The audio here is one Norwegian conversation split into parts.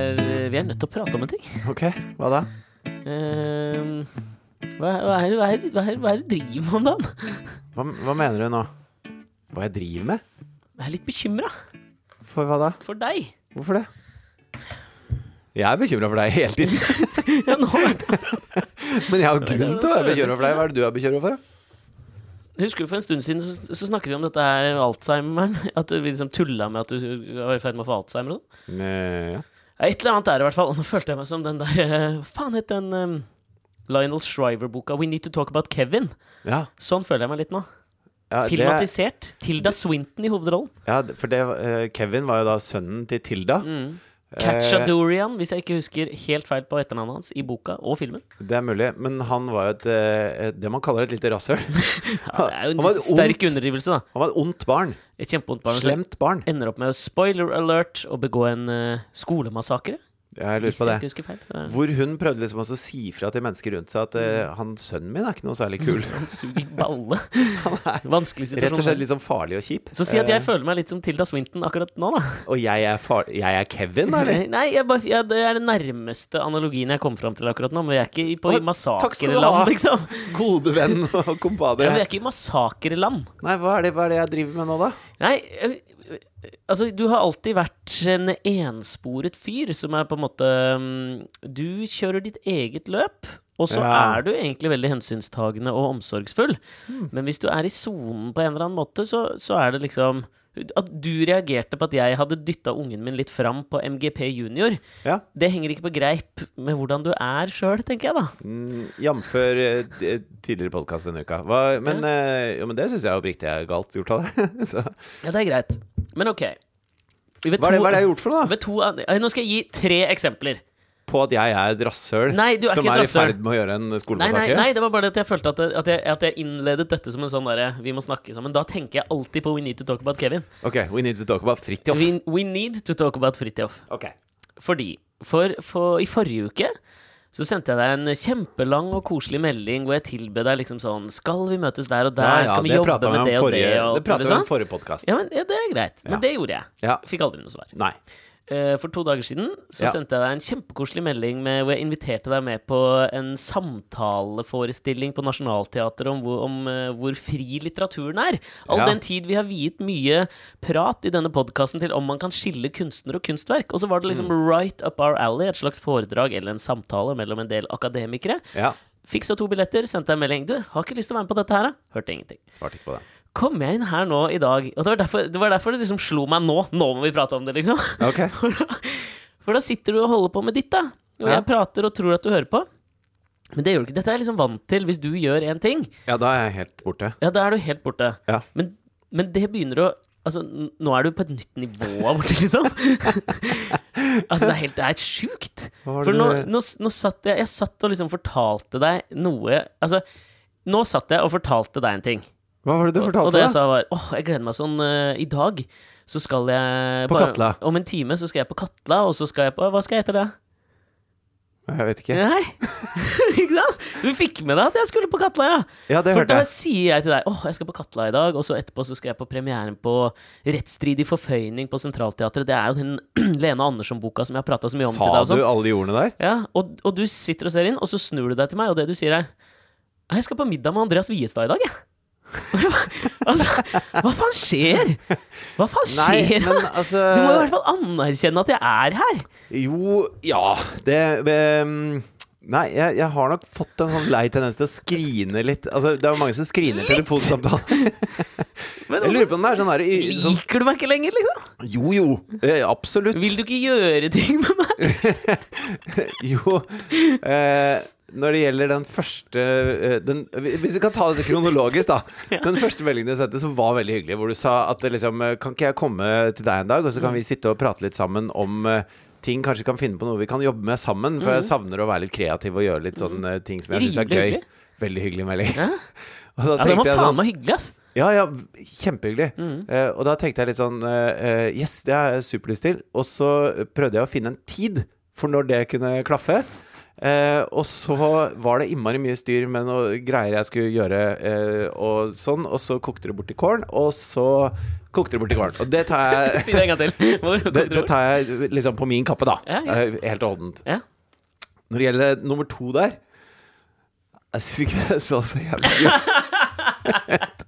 er nødt til å prate om en ting. Ok, hva da? Ehm, hva, hva, er, det- hva, er, det- hva, er, det- hva er det du driver med om dagen? Hva, hva mener du nå? Hva jeg driver med? Jeg er litt bekymra For hva da? for deg. Hvorfor det? Jeg er bekymra for deg hele tiden. Ja, nå vet jeg. Men jeg har grunn til å være bekymra for deg. Hva er det du er bekymra for? da? Husker du for en stund siden så, så snakket vi om dette her alzheimeren? At du liksom tulla med at du var i ferd med å få alzheimer og sånn? Nei, Eh, ja. Ja, Et eller annet er det i hvert fall. Og nå følte jeg meg som den der eh, Hva faen het den eh, Lionel Shriver-boka 'We Need To Talk About Kevin'? Ja, Sånn føler jeg meg litt nå. ja, det, Filmatisert. Tilda Swinton i hovedrollen. ja, for det, eh, Kevin var jo da sønnen til Tilda. Eh. Catchadorian, Mm. hvis jeg ikke husker helt feil på etternavnet hans, i boka og filmen. Det er mulig, men han var jo et, eh, det man kaller et lite rasshøl. Ja, det er Han var jo et en sterk ondt- underdrivelse, da. Han var et ondt barn. Et kjempeondt barn som Slemt barn. ender opp med å spoiler alert og begå en eh, skolemassakre. Jeg lurer Hvis på jeg det. ikke husker feil. Det er- Hvor hun prøvde liksom også å si fra til mennesker rundt seg at Mm. eh, han sønnen min er ikke noe særlig kul. Han suger balle. Han er Vanskelig rett og slett situasjon. litt sånn farlig og kjip. Så si at jeg Eh, føler meg litt som Tilda Swinton akkurat nå, da. Og jeg er, far jeg er Kevin, da, eller? Nei, jeg bare, ja, det er den nærmeste analogien jeg kom fram til akkurat nå. Men vi er ikke i- på i Å, takk skal du ha. massakreland, liksom. Gode venn og Ja, vi kompadre. er ikke i massakreland. Nei, hva er, det, hva er det jeg driver med nå, da? Nei, eh, eh, altså du har alltid vært en ensporet fyr som er på en måte mm, Du kjører ditt eget løp, og så Ja. Hmm. er du egentlig veldig hensynstagende og omsorgsfull. Men hvis du er i sonen på en eller annen måte, så, så er det liksom At du reagerte på at jeg hadde dytta ungen min litt fram på MGP junior, Ja, det henger ikke på greip med hvordan du er sjøl, tenker jeg da. mm, Jamfør eh, d- tidligere podkast denne uka. Hva, men, eh, jo, men det syns jeg oppriktig er galt gjort av deg. Så, Ja, det er greit. Men ok. Ved Hva er det, to- hva er det jeg har gjort for noe, da? ved to an- Nå skal jeg gi tre eksempler. På at jeg er et rasshøl Nei, du er som ikke et er i rasshøl. ferd med å gjøre en Nei, nei, skolemassakre? nei, det var bare det at jeg følte at, at, jeg, at jeg innledet dette som en sånn derre Vi må snakke sammen. Da tenker jeg alltid på We Need To Talk About Kevin. Ok, we need to talk about Fridtjof. We, we need to talk about Fridtjof. Ok. Fordi for, for i forrige uke så sendte jeg deg en kjempelang og koselig melding hvor jeg tilbød deg liksom sånn Skal vi møtes der og der? Ja, ja, Skal vi det jobbe pratet vi med om det og forrige, det? Og, det pratet vi liksom? om forrige podkast. ja, men, ja, det er greit. Men Ja. det gjorde jeg. Ja. Fikk aldri noe svar. Nei. Eh, For to dager siden så Ja. sendte jeg deg en kjempekoselig melding med, hvor jeg inviterte deg med på en samtaleforestilling på Nationaltheatret om, hvor- om eh, hvor fri litteraturen er. All Ja. den tid vi har viet mye prat i denne podkasten til om man kan skille kunstner og kunstverk. Og så var det liksom Mm. right up our alley, et slags foredrag eller en samtale mellom en del akademikere. Ja. Fiksa to billetter, sendte deg en melding. Du, har ikke lyst til å være med på dette her, da? Hørte ingenting Svarte ikke på det. kom jeg inn her nå i dag Og det var derfor det, var derfor det liksom slo meg nå. Nå må vi prate om det, liksom. Ok. For, da, for da sitter du og holder på med ditt, da. Og Ja. jeg prater og tror at du hører på. Men det gjør du ikke. Dette er jeg liksom vant til. Hvis du gjør én ting, Ja, da er jeg helt borte. ja, da er du helt borte. Ja. Men, men det begynner å Altså, n- nå er du på et nytt nivå av borte, liksom. altså, det er helt Det er helt sjukt. Hva var For det nå, du- nå, s- nå satt jeg Jeg satt og liksom fortalte deg noe Altså, nå satt jeg og fortalte deg en ting. Hva var det du Og det fortalte, jeg da? sa var Åh, jeg gleder meg sånn eh, I dag så skal jeg På bare- Katla. Om en time så skal jeg på Katla, og så skal jeg på Hva skal jeg hete da? Jeg vet ikke. Nei! Ikke sant? Du fikk med deg at jeg skulle på Katla, ja! Ja, det For hørte da jeg. sier jeg til deg Åh, jeg skal på Katla i dag, og så etterpå så skal jeg på premieren på Rettsstridig forføyning på Centralteatret. Det er jo den Lene Andersson-boka som jeg har prata så mye om til deg. Sa og sånn. du alle de ordene der? Ja, og, og du sitter og ser inn, og så snur du deg til meg, og det du sier er «Nei, Jeg skal på middag med Andreas Wiestad i dag, jeg. Og jeg bare, altså, hva faen skjer? Hva faen skjer? men altså Du må i hvert fall anerkjenne at jeg er her. Jo, ja Det ehm, Nei, jeg, jeg har nok fått en sånn lei tendens til å skrine litt. Altså, det er jo mange som skriner i telefonsamtaler. Men Jeg lurer på om det er sånn der i- sånn, liker du meg ikke lenger, liksom? Jo, jo. eh, Absolutt. Vil du ikke gjøre ting med meg? Jo. Eh, når det gjelder den første eh, den, Hvis vi kan ta dette kronologisk, da. Den første meldingen du sendte, som var veldig hyggelig, hvor du sa at eh, liksom, eh, kan ikke jeg komme til deg en dag, og så kan vi sitte og prate litt sammen om eh, ting Kanskje kan finne på noe vi kan jobbe med sammen, for jeg savner å være litt kreativ og gjøre litt sånne eh, ting som jeg syns er Mhm. Rimelig gøy. hyggelig. Veldig hyggelig melding. Ja. Og Ja, da det var tenkte jeg faen sånn meg hyggelig, ass. Ja, ja, kjempehyggelig. Mm. Eh, og da tenkte jeg litt sånn eh, eh, Yes, det har jeg superlyst til. Og så prøvde jeg å finne en tid for når det kunne klaffe. Eh, og så var det innmari mye styr med noe greier jeg skulle gjøre, eh, og sånn. Og så kokte det bort i kålen, og så kokte det bort i kålen. Og det tar jeg Si det en gang til. Hvor kom det, du det bort? tar jeg liksom på min kappe, da. Ja, ja. Eh, Helt og holdent. Ja. Når det gjelder nummer to der Jeg syns ikke det så så jævlig gøy ut.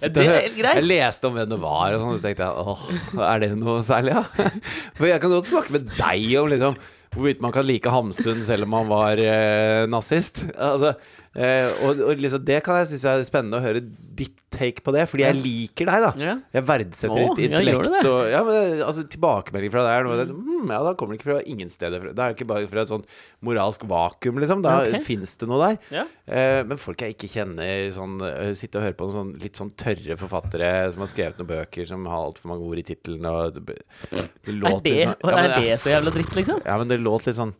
Ja, det er helt Jeg greit. leste om hvem det var, og sånn, og så tenkte jeg åh, er det noe særlig, ja? For jeg kan godt snakke med deg om liksom hvorvidt man kan like Hamsun selv om han var eh, nazist. Altså, eh, og, og liksom, det kan jeg synes er spennende å høre ditt take på det, fordi jeg liker deg, da. Ja. Jeg verdsetter Å, ditt ja, gjør intellekt. du det? Og, ja, men, det- altså, tilbakemelding fra deg er noe mm, Ja, da kommer det ikke fra ingen steder. fra- Det er ikke bare fra et sånt moralsk vakuum, liksom. Da Ok. fins det noe der. Ja. Eh, men folk jeg ikke kjenner, sånn, eh, sitte og høre på noen sånn, litt sånn tørre forfattere som har skrevet noen bøker som har altfor mange ord i tittelen, og det, det Er låter det, sånn- og ja, men, er det så jævla dritt, liksom? ja, men det låt litt sånn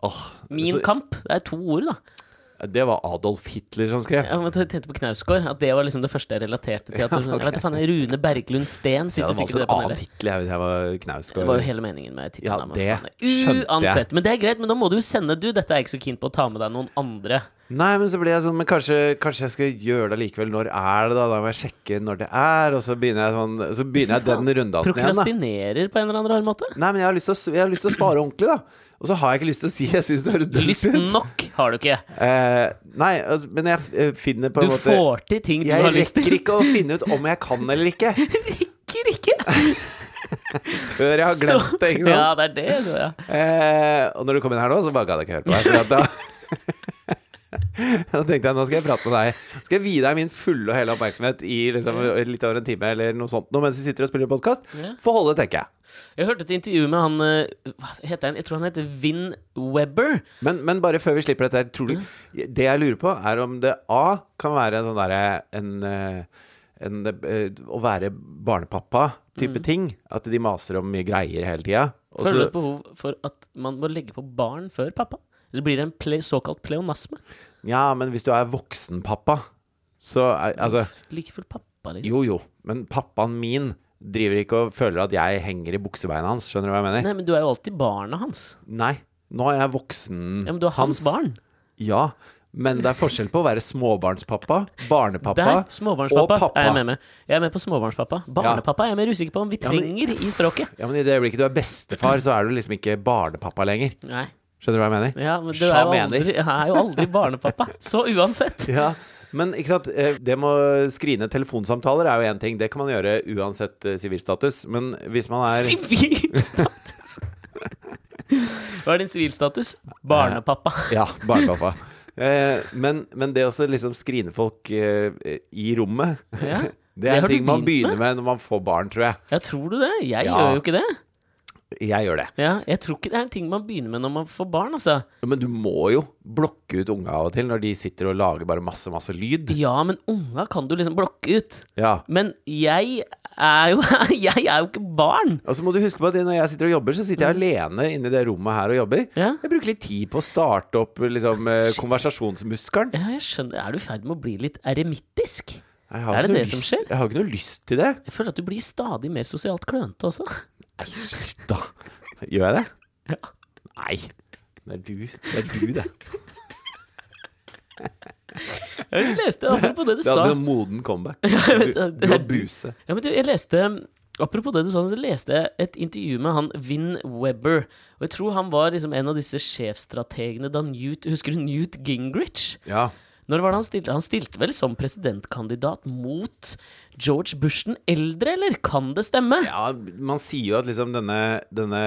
Åh. Min så- kamp. Det er to ord, da. det var Adolf Hitler som skrev. Ja, men Jeg tenkte på Knausgård. At det var liksom det første jeg relaterte til. At det, sånn, jeg vet, da faen, Rune Berglund Steen jeg sitter hadde valgt sikkert i en det annen panelet. tittel jeg, hvis jeg var Knausgård. Det var jo hele meningen med tittelen. Ja, da, men det faen, skjønte jeg. Uansett. Men det er greit, men da må du jo sende Du, dette er jeg ikke så keen på å ta med deg noen andre. Nei, men så blir jeg sånn Men kanskje, kanskje jeg skal gjøre det likevel. Når er det, da? Da må jeg sjekke når det er. Og så begynner jeg, sånn, så begynner jeg den runddansen igjen, da. Prokrastinerer på en eller annen rar måte. Nei, men jeg har, lyst til å, s- jeg har lyst til å svare ordentlig, da. Og så har jeg ikke lyst til å si jeg syns det høres dumt Lyst ut. nok har du ikke. Eh, nei, altså, men jeg f- eh, finner på Du en måte får til ting du Jeg har lyst til. rekker ikke å finne ut om jeg kan eller ikke, Rekker ikke! før jeg har glemt det. Ikke sant? Ja, det er det. Så, ja. Eh, og når du kom inn her nå, så bare gadd jeg ikke høre på deg. For at da, da tenkte jeg nå skal jeg prate med deg. Skal jeg vie deg min fulle og hele oppmerksomhet i liksom, litt over en time eller noe sånt nå, mens vi sitter og spiller podkast? Ja. Få holde, tenker jeg. Jeg hørte et intervju med han eh, Hva heter han? Jeg tror han heter Vin Webber. Men, men bare før vi slipper dette her, tror du, det jeg lurer på, er om det A kan være en sånn derre en, eh, en, eh, Å være barnepappa-type ting. At de maser om mye greier hele tida. Mm. Og Føler du så et behov for at man må legge på barn før pappa? Eller blir det en ple såkalt pleonasme? Ja, men hvis du er voksenpappa, så er, Altså Like fullt pappa, liksom. Jo, jo, men pappaen min driver ikke og føler at jeg henger i buksebeina hans. Skjønner du hva jeg mener? Nei, men du er jo alltid barnet hans. Nei. Nå er jeg voksen. Ja, men du er hans, barn. Ja, men det er forskjell på å være småbarnspappa, barnepappa Der, småbarnspappa og pappa. er jeg med med. Jeg er med på småbarnspappa. Barnepappa er jeg mer usikker på om vi men- trenger i språket. Ja, men I det øyeblikket du er bestefar, så er du liksom ikke barnepappa lenger. Nei. Skjønner du hva jeg mener? Ja, men du er jo Sjamener. aldri, jeg er jo aldri barnepappa. Så uansett. Ja, men ikke sant eh, Det med å skrine telefonsamtaler er jo én ting. Det kan man gjøre uansett eh, sivilstatus. Men hvis man er Sivilstatus! Hva er din sivilstatus? Barnepappa. Ja, barnepappa. Eh, men, men det å så liksom skrine folk eh, i rommet, Ja. det er har en du ting man begynt begynner med når man får barn, tror jeg. Ja, tror du det? Jeg Ja. gjør jo ikke det. Jeg gjør det. Ja, jeg tror ikke det er en ting man begynner med når man får barn, altså. Men du må jo blokke ut unga av og til når de sitter og lager bare masse, masse lyd. Ja, men unga kan du liksom blokke ut. Ja. Men jeg er jo, jeg er jo ikke barn. Og så må du huske på at når jeg sitter og jobber, så sitter jeg alene inne i det rommet her og jobber. Ja. Jeg bruker litt tid på å starte opp liksom, eh, konversasjonsmuskelen. Ja, jeg skjønner. Er du i ferd med å bli litt eremittisk? Jeg har Er det ikke noe det som lyst- skjer? Jeg har ikke noe lyst til det. Jeg føler at du blir stadig mer sosialt klønete også. Nei, slutt da. Gjør jeg det? Nei. Det er du. Det er du, det. Jeg leste apropos det du Det er sa. altså en moden comeback. jeg vet Du, det. du var buse. Ja, men du, jeg leste Apropos det du sa, så leste jeg et intervju med han Vin Webber. Og jeg tror han var liksom en av disse sjefstrategene da Newt Husker du Newt Gingrich? Ja. Når var det han stilte? Han stilte vel som presidentkandidat mot George Bush den eldre, eller? Kan det stemme? ja, man sier jo at liksom denne, denne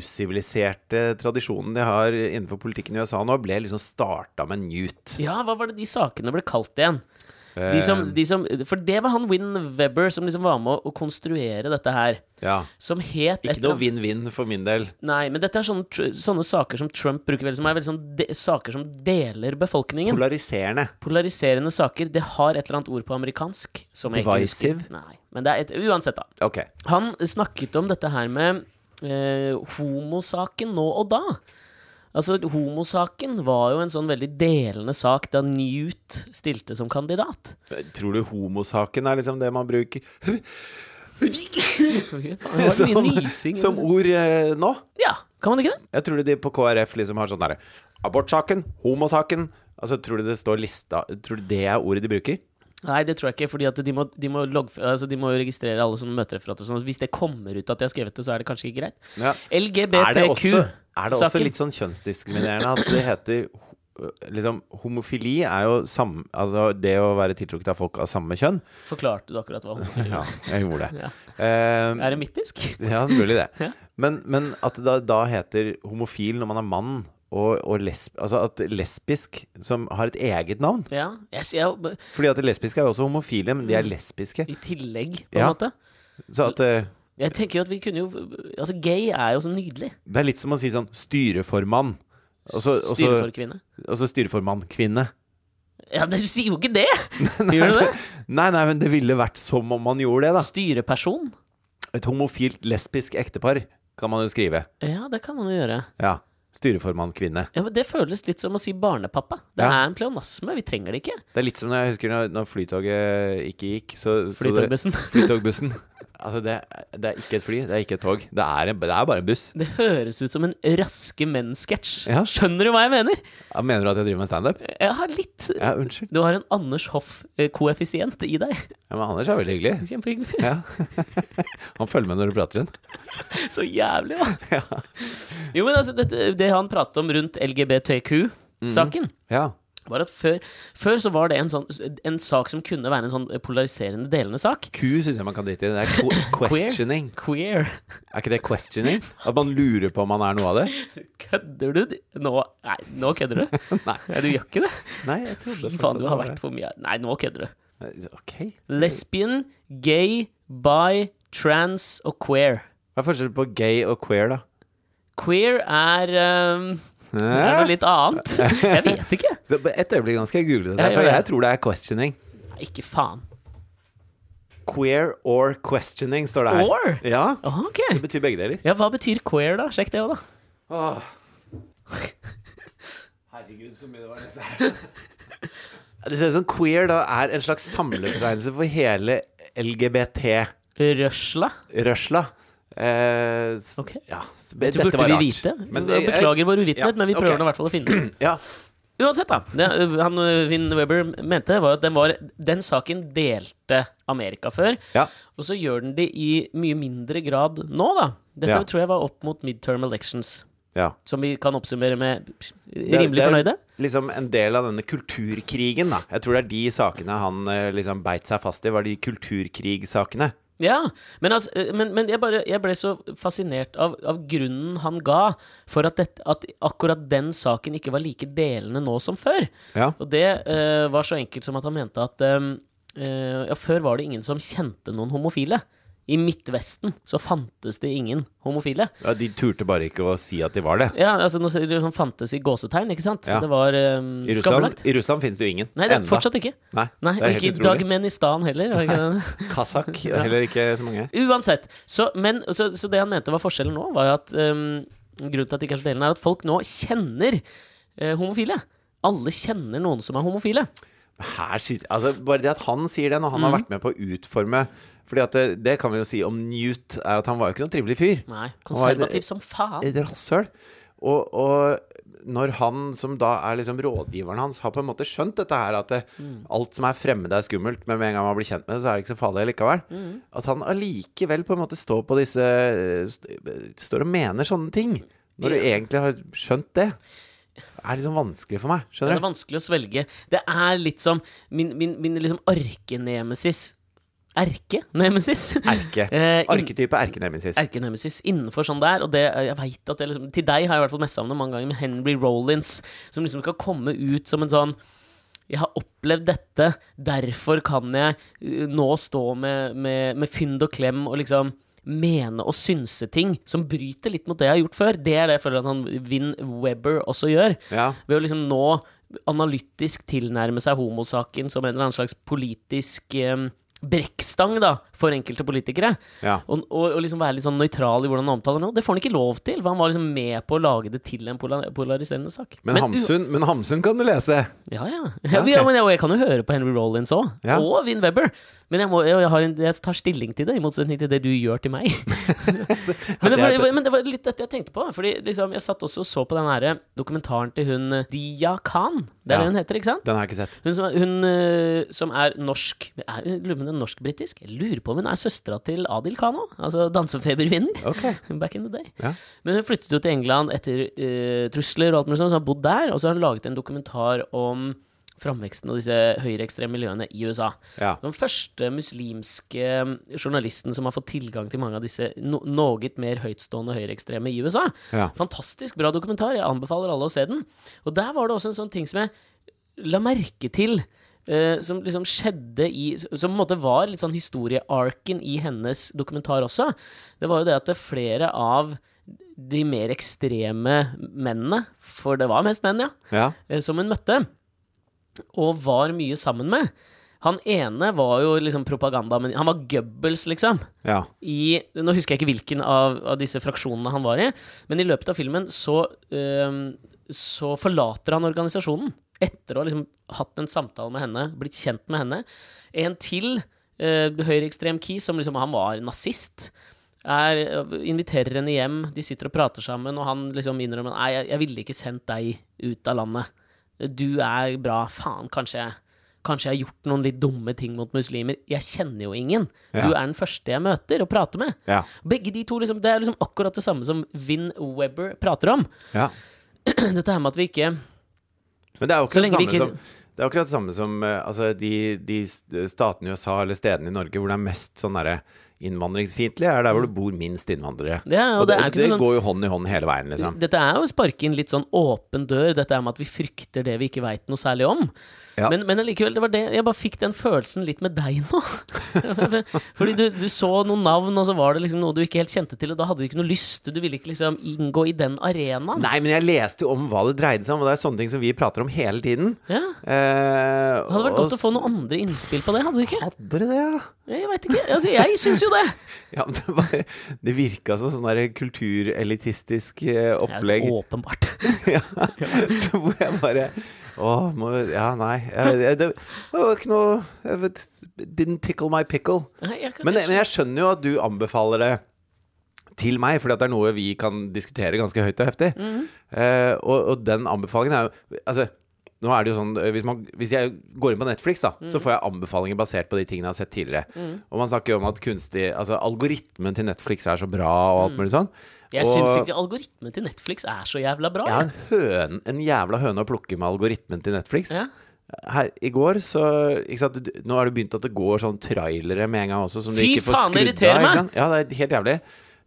usiviliserte tradisjonen de har innenfor politikken i USA nå, ble liksom starta med Newt. Ja, hva var det de sakene ble kalt igjen? De som, Eh. de som, for det var han Win Webber som liksom var med å konstruere dette her. Ja. Som het Ikke noe vinn-vinn for min del. Nei, men dette er sånne, tr- sånne saker som Trump bruker veldig, som er veldig sånn de, saker som deler befolkningen. Polariserende. Polariserende saker, det har et eller annet ord på amerikansk. Som jeg ikke husker. Divisive? Nei, men det er et, uansett, da. Ok. Han snakket om dette her med eh, homosaken nå og da. Altså, homosaken var jo en sånn veldig delende sak da Newt stilte som kandidat. Tror du homosaken er liksom det man bruker Fy faen, Det var som, mye nysing. liksom. som ord eh, nå? Ja, Kan man ikke det? Jeg tror de på KrF liksom har sånn derre Abortsaken, homosaken Altså, tror du det står lista Tror du det er ordet de bruker? Nei, det tror jeg ikke, fordi at de må, de må, logg, altså de må registrere alle som møtereferater. og Sånn. Hvis det kommer ut at de har skrevet det, så er det kanskje ikke greit. Ja. Er det LGBTQ. også, er det også saken. litt sånn kjønnsdiskriminerende at det heter ho- Liksom, homofili er jo sam, altså det å være tiltrukket av folk av samme kjønn. Forklarte du akkurat hva homofili Ja, jeg gjorde det. Ja. Eh, er? Er det midtisk? Ja, mulig det. Ja. Men, men at det da, da heter homofil når man er mann, og, og lesb, altså at lesbisk som har et eget navn Ja. Jeg, s- jeg, Fordi at lesbiske er jo også homofile, men de Mm. er lesbiske. I tillegg, på en Ja. måte. Så at eh, Jeg tenker jo at vi kunne jo Altså, gay er jo så nydelig. det er litt som å si sånn styreformann. Og så og så- Styreforkvinne. og så styreformann-kvinne. Ja, men du sier jo ikke det! Gjør du det? Nei, nei, men det ville vært som om man gjorde det, da. Styreperson. Et homofilt lesbisk ektepar kan man jo skrive. Ja, det kan man jo gjøre. Ja. Styreformann-kvinne. Ja, men Det føles litt som å si barnepappa. Det Ja. er en pleonasme. Vi trenger det ikke. Det er litt som når jeg husker når, når Flytoget ikke gikk, så, så det- Flytogbussen. Flytogbussen. Altså, det, det er ikke et fly, det er ikke et tog. Det er, en, det er bare en buss. Det høres ut som en Raske menn-sketsj. Ja. Skjønner du hva jeg mener? Ja, mener du at jeg driver med standup? Jeg har litt Ja, unnskyld. Du har en Anders Hoff-koeffisient i deg. Ja, men Anders er veldig hyggelig. Kjempehyggelig. Ja. Han følger med når du prater igjen. Så jævlig, da. Jo, men altså, dette, det han pratet om rundt LGBTQ-saken, Ja. var at før, før så var det en, sånn, en sak som kunne være en sånn polariserende, delende sak. Q syns jeg man kan drite i. Det er qu- questioning. Queer. Er ikke det questioning? At man lurer på om man er noe av det? Kødder du? Nå, nei, nå kødder du. Nei. Nei, du gjør ikke det. Nei, jeg trodde Fy først faen, at du det har var vært for mye Nei, nå kødder du. det. Ok. Lesbian, gay, bi, trans og queer. Hva er forskjellen på gay og queer, da? Queer er um, Det er noe Hæ? litt annet. Jeg vet ikke. Så Et øyeblikk, nå skal jeg google det. Ja, Der, for gjør det. jeg tror det er questioning. Nei, ikke faen. Queer or questioning, står det her. Or? Ja. Ah, Ok. Det betyr begge deler. Ja, hva betyr queer, da? Sjekk det òg, da. Åh. Herregud, så mye det var neste her. Det ser ut som queer da er en slags samlebetegnelse for hele LGBT-rørsla. Røsla. Eh, s- Ok. ja, s- Dette burde vi vite. Men det- jeg- Beklager vår uvitenhet, ja, men vi ok. prøver nå i hvert fall å finne det ut. Ja, Uansett, da. Det, ø, han ø, Vin Webber mente var at den, var, den saken delte Amerika før. ja. Og så gjør den det i mye mindre grad nå, da. Dette Ja. tror jeg var opp mot midterm elections, ja. som vi kan oppsummere med pff, Det er- rimelig det er fornøyde. Liksom en del av denne kulturkrigen, da. Jeg tror det er de sakene han eh, liksom beit seg fast i, var de kulturkrigsakene. Ja, men, altså, eh, men, men jeg, bare, jeg ble så fascinert av, av grunnen han ga for at, dette- at akkurat den saken ikke var like delende nå som før. Ja. Og det eh, var så enkelt som at han mente at eh, eh, ja, før var det ingen som kjente noen homofile. I Midtvesten så fantes det ingen homofile. ja. De turte bare ikke å si at de var det. Ja, altså nå ser du sånn fantes i gåsetegn, ikke sant? Ja. Det var eh, I Russland, skambelagt. I Russland finnes det jo ingen. Nei, det er Enda. fortsatt ikke. Nei, Nei, det er ikke i helt utrolig. Dagmenistan heller. var det ikke det? Kazakh, heller ikke så mange. Uansett. Så, men, så, så det han mente var forskjellen nå, var jo at ehm, Grunnen til at det ikke er så delende, er at folk nå kjenner eh, homofile. Alle kjenner noen som er homofile. Her, skyter- altså, bare det at han sier det, når han har Mm. vært med på å utforme Fordi at det, det kan vi jo si om Newt, er at han var jo ikke noen trivelig fyr. Nei, konservativ som faen. Et rasshøl. Og, og når han, som da er liksom rådgiveren hans, har på en måte skjønt dette her, at det, alt som er fremmed er skummelt, men med en gang man blir kjent med det, så er det ikke så farlig likevel. At han allikevel på en måte står på disse st- Står og mener sånne ting. Når du egentlig har skjønt det. Er liksom vanskelig for meg. Det er Skjønner du? vanskelig å svelge. Det er litt som min, min, min liksom arkenemesis. Erkenemesis? Erke. Eh, inn- Arketype erkenemesis. Erkenemesis innenfor sånn der, og det, jeg vet at det liksom, til deg har jeg i hvert fall messa om det mange ganger, med Henry Rollins, som liksom skal komme ut som en sånn jeg har opplevd dette, derfor kan jeg uh, nå stå med, med, med fynd og klem og liksom mene og synse ting som bryter litt mot det jeg har gjort før. Det er det jeg føler at han Vin Webber også gjør. Ja. Ved å liksom nå analytisk tilnærme seg homosaken som en eller annen slags politisk eh, brekkstang da, for enkelte politikere. Ja. Og, og, og liksom være litt sånn nøytral i hvordan han omtaler nå. Det får han ikke lov til, for han var liksom med på å lage det til en pola- polariserende sak. Men, u- Hamsun, men Hamsun kan du lese. Ja, ja. Ja, ja, ok. men jeg, og jeg kan jo høre på Henry Rollins òg, Ja. og Vin Webber. Men jeg, må, jeg, har en, jeg tar stilling til det, i motsetning til det du gjør til meg. men, det var, men det var litt dette jeg tenkte på. Fordi liksom, Jeg satt også og så på den her eh, dokumentaren til hun eh, Dia Khan. Det er Ja. det hun heter, ikke sant? Den har jeg ikke sett. Hun som, er- hun, eh, som er norsk er, jeg Lurer på om hun er norsk-britisk? Jeg Lurer på om hun er søstera til Adil Khan òg? Altså dansefebervinner? Ok. Back in the day. Ja. Men hun flyttet jo til England etter eh, trusler og alt mulig sånt, så har hun bodd der. Og så har hun laget en dokumentar om framveksten av disse høyreekstreme miljøene i USA. Ja. Den første muslimske eh, journalisten som har fått tilgang til mange av disse no noe mer høytstående høyreekstreme i USA. Ja. Fantastisk bra dokumentar. Jeg anbefaler alle å se den. Og der var det også en sånn ting som jeg la merke til. eh, som liksom skjedde i Som på en måte var litt sånn historiearken i hennes dokumentar også. Det var jo det at det flere av de mer ekstreme mennene, for det var mest menn, ja, ja. eh, som hun møtte, og var mye sammen med. Han ene var jo liksom propaganda, men han var Goebbels, liksom. ja. I, nå husker jeg ikke hvilken av, av disse fraksjonene han var i, men i løpet av filmen så, øhm, så forlater han organisasjonen. Etter å ha liksom hatt en samtale med henne, blitt kjent med henne. En til øh, høyreekstrem key, som liksom Han var nazist. Er, inviterer henne hjem, de sitter og prater sammen, og han liksom innrømmer Nei, jeg, jeg ville ikke sendt deg ut av landet. Du er bra. Faen, kanskje jeg Kanskje jeg har gjort noen litt dumme ting mot muslimer. Jeg kjenner jo ingen. Du Ja. er den første jeg møter og prater med. Ja. Begge de to, liksom, Det er liksom akkurat det samme som Vin Webber prater om. ja. Dette her med at vi ikke Men det er jo Så akkurat det lenge vi samme ikke- som det er akkurat det samme som eh, altså, de, de st- statene i USA eller stedene i Norge hvor det er mest sånn derre innvandringsfiendtlig, er der hvor det bor minst innvandrere. Ja, og og det det, er jo ikke det noe sånn- går jo hånd i hånd hele veien, liksom. Dette er jo å sparke inn litt sånn åpen dør, dette er med at vi frykter det vi ikke veit noe særlig om. Ja. Men, men allikevel, det var det Jeg bare fikk den følelsen litt med deg nå. Fordi du, du så noen navn, og så var det liksom noe du ikke helt kjente til, og da hadde du ikke noe lyst. Du ville ikke liksom inngå i den arenaen. Nei, men jeg leste jo om hva det dreide seg om, og det er sånne ting som vi prater om hele tiden. Ja. Eh, Det hadde vært og godt å få noen andre innspill på det, hadde du ikke? Hadde dere det, ja? Jeg veit ikke. Altså, jeg syns jo det. Ja, men det, var, det virka som sånn der kulturelitistisk eh, opplegg. Ja, åpenbart. ja. Så hvor jeg bare Å, må Ja, nei. Jeg, jeg, det var ikke noe jeg vet, Didn't tickle my pickle. Nei, jeg kan Men, ikke men jeg skjønner jo at du anbefaler det til meg, fordi at det er noe vi kan diskutere ganske høyt og heftig. Mm. Eh, og, og den anbefalingen er jo Altså, nå er det jo sånn eh, Hvis, man, hvis jeg går inn på Netflix, da, Mm. så får jeg anbefalinger basert på de tingene jeg har sett tidligere. Og man snakker jo om at kunstig Altså, algoritmen til Netflix er så bra, og alt mulig sånn. Mm. Jeg og, syns ikke algoritmen til Netflix er så jævla bra. jeg har en, høn, en jævla høne å plukke med algoritmen til Netflix. Ja. Her, I går så ikke sant, du- Nå har det begynt at det går sånn trailere med en gang også. Som du Fy ikke får faen, det skrudd irriterer av, meg! ikke sant? Ja, det er helt jævlig.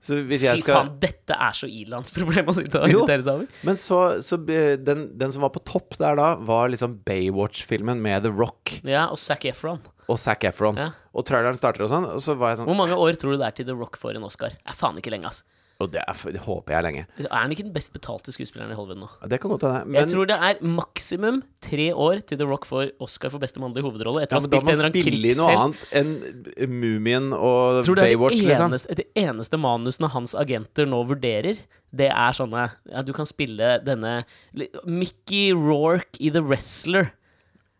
Så hvis jeg Fy skal faen, dette er så ilandsproblem å sitte og Jo. irritere seg over. Men så, så eh, den, den som var på topp der da, var liksom Baywatch-filmen med The Rock Ja, og Zac Efron. og Zac Efron. Ja. Og traileren starter og sånn, og så var jeg sånn Hvor mange år tror du det er til The Rock får en Oscar? Det er faen ikke lenge, ass. Og det, er, det håper jeg er lenge. Er han ikke den best betalte skuespilleren i Hollywood nå? Det kan godt hende. jeg tror det er maksimum tre år til The Rock får Oscar for beste mannlige hovedrolle. Etter å ha ja, men da spilt må en eller man annen spille i noe krigshelt. annet enn Mumien og Tror du det er Baywatch, det liksom. eneste, det eneste manusene hans agenter nå vurderer? Det er sånne Ja, du kan spille denne li- Mickey Rourke i The Wrestler.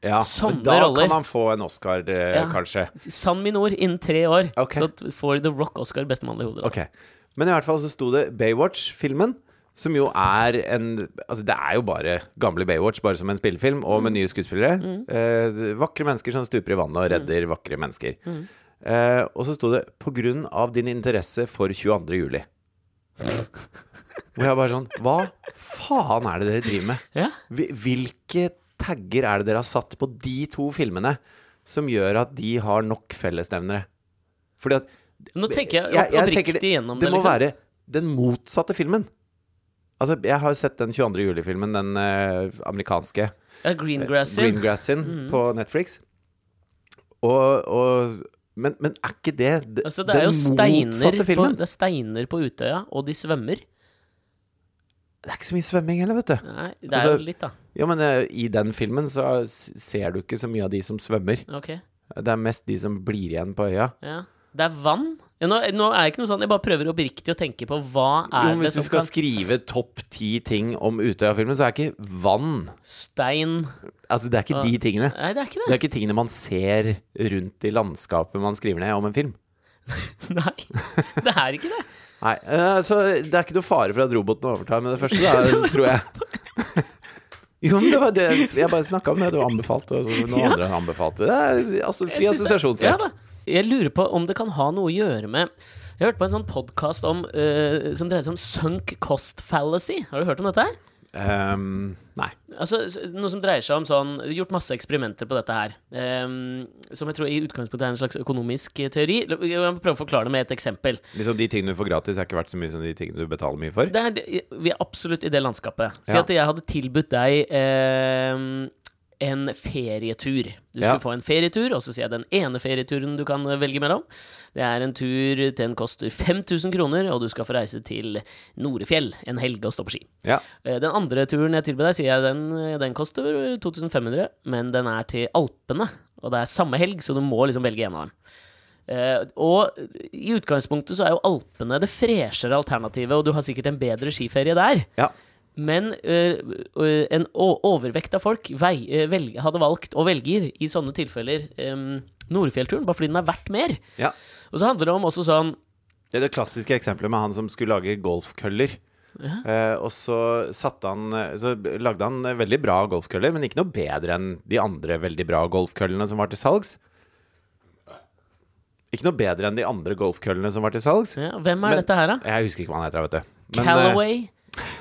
Ja, Sånne men da roller. kan han få en Oscar, eh, Ja. kanskje. Sann mine ord, innen tre år Ok. så t- får The Rock Oscar beste mann i hodet. Ok. Men i hvert fall så sto det Baywatch-filmen, som jo er en Altså, det er jo bare gamle Baywatch, bare som en spillefilm, Mm. og med nye skuespillere. Eh, vakre mennesker som stuper i vannet Mm. og redder vakre mennesker. Eh, og så sto det 'på grunn av din interesse for 22. juli'. Hvor jeg bare sånn Hva faen er det dere driver med? Ja? Hvil- Hvilke tagger er det dere har satt på de to filmene som gjør at de har nok fellesnevnere? Fordi at Nå tenker jeg, Jeg- jeg oppriktig tenker det- gjennom det. det må liksom. være den motsatte filmen. Altså, jeg har sett den 22. juli-filmen, den eh, amerikanske ja, Greengrass sin. Greengrass sin Mm. på Netflix. Og, og men, men er ikke det d- Altså, det er jo steiner den motsatte på, filmen? det er steiner på Utøya, og de svømmer. Det er ikke så mye svømming heller, vet du. Nei, det er Altså- jo litt, da. Ja, men eh, i den filmen så s- ser du ikke så mye av de som svømmer. Ok. Det er mest de som blir igjen på øya. Ja. Det er vann. Ja, nå, nå er det ikke noe sånn, jeg bare prøver oppriktig å tenke på hva er Jo, men det hvis du som skal kan skrive topp ti ting om Utøya-filmen, så er ikke vann Stein Altså, det er ikke de tingene. Nei, det er ikke Det det. er ikke tingene man ser rundt i landskapet man skriver ned om en film. Nei, det er ikke det. Nei, eh, så det er ikke noe fare for at roboten overtar med det første, da, tror jeg. Jo, men det var det jeg bare snakka om, det du anbefalte, og så noen Ja. andre anbefalte. Det er altså fri Jeg synes det- Ja, assosiasjonsrett. da. jeg lurer på om det kan ha noe å gjøre med Jeg hørte på en sånn podkast som dreier seg om sunk cost fallacy. Har du hørt om dette? her? Ehm, nei. Altså, s- noe som dreier seg om sånn det er Gjort masse eksperimenter på dette her. ehm, som jeg tror i utgangspunktet er en slags økonomisk eh, teori. La- Jeg må prøve å forklare det med et eksempel. Liksom De tingene du får gratis, er ikke verdt så mye som de tingene du betaler mye for. Det er, det- vi er absolutt i det landskapet. Si Ja. at jeg hadde tilbudt deg ehm, en ferietur. Du skulle Ja. få en ferietur, og så sier jeg den ene ferieturen du kan eh, velge mellom. Det er en tur til den koster 5000 kroner, og du skal få reise til Norefjell en helg og stå på ski. Ja. Eh, Den andre turen jeg tilbød deg, sier jeg den, eh, den koster 2500, men den er til Alpene. Og det er samme helg, så du må liksom velge en av dem. Eh, og i utgangspunktet så er jo Alpene det freshere alternativet, og du har sikkert en bedre skiferie der. ja. Men eh, eh, en o- overvekt av folk vei, eh, velg, hadde valgt, og velger i sånne tilfeller, um, Nordfjellturen, bare fordi den er verdt mer. ja. Og så handler det om også sånn Det er det klassiske eksempelet med han som skulle lage golfkøller. Eh, og så, satte han, så lagde han veldig bra golfkøller, men ikke noe bedre enn de andre veldig bra golfkøllene som var til salgs. Ikke noe bedre enn de andre golfkøllene som var til salgs. ja, Hvem er Men- dette her, da? Jeg husker ikke hva han heter, vet du. Men, eh, Callaway?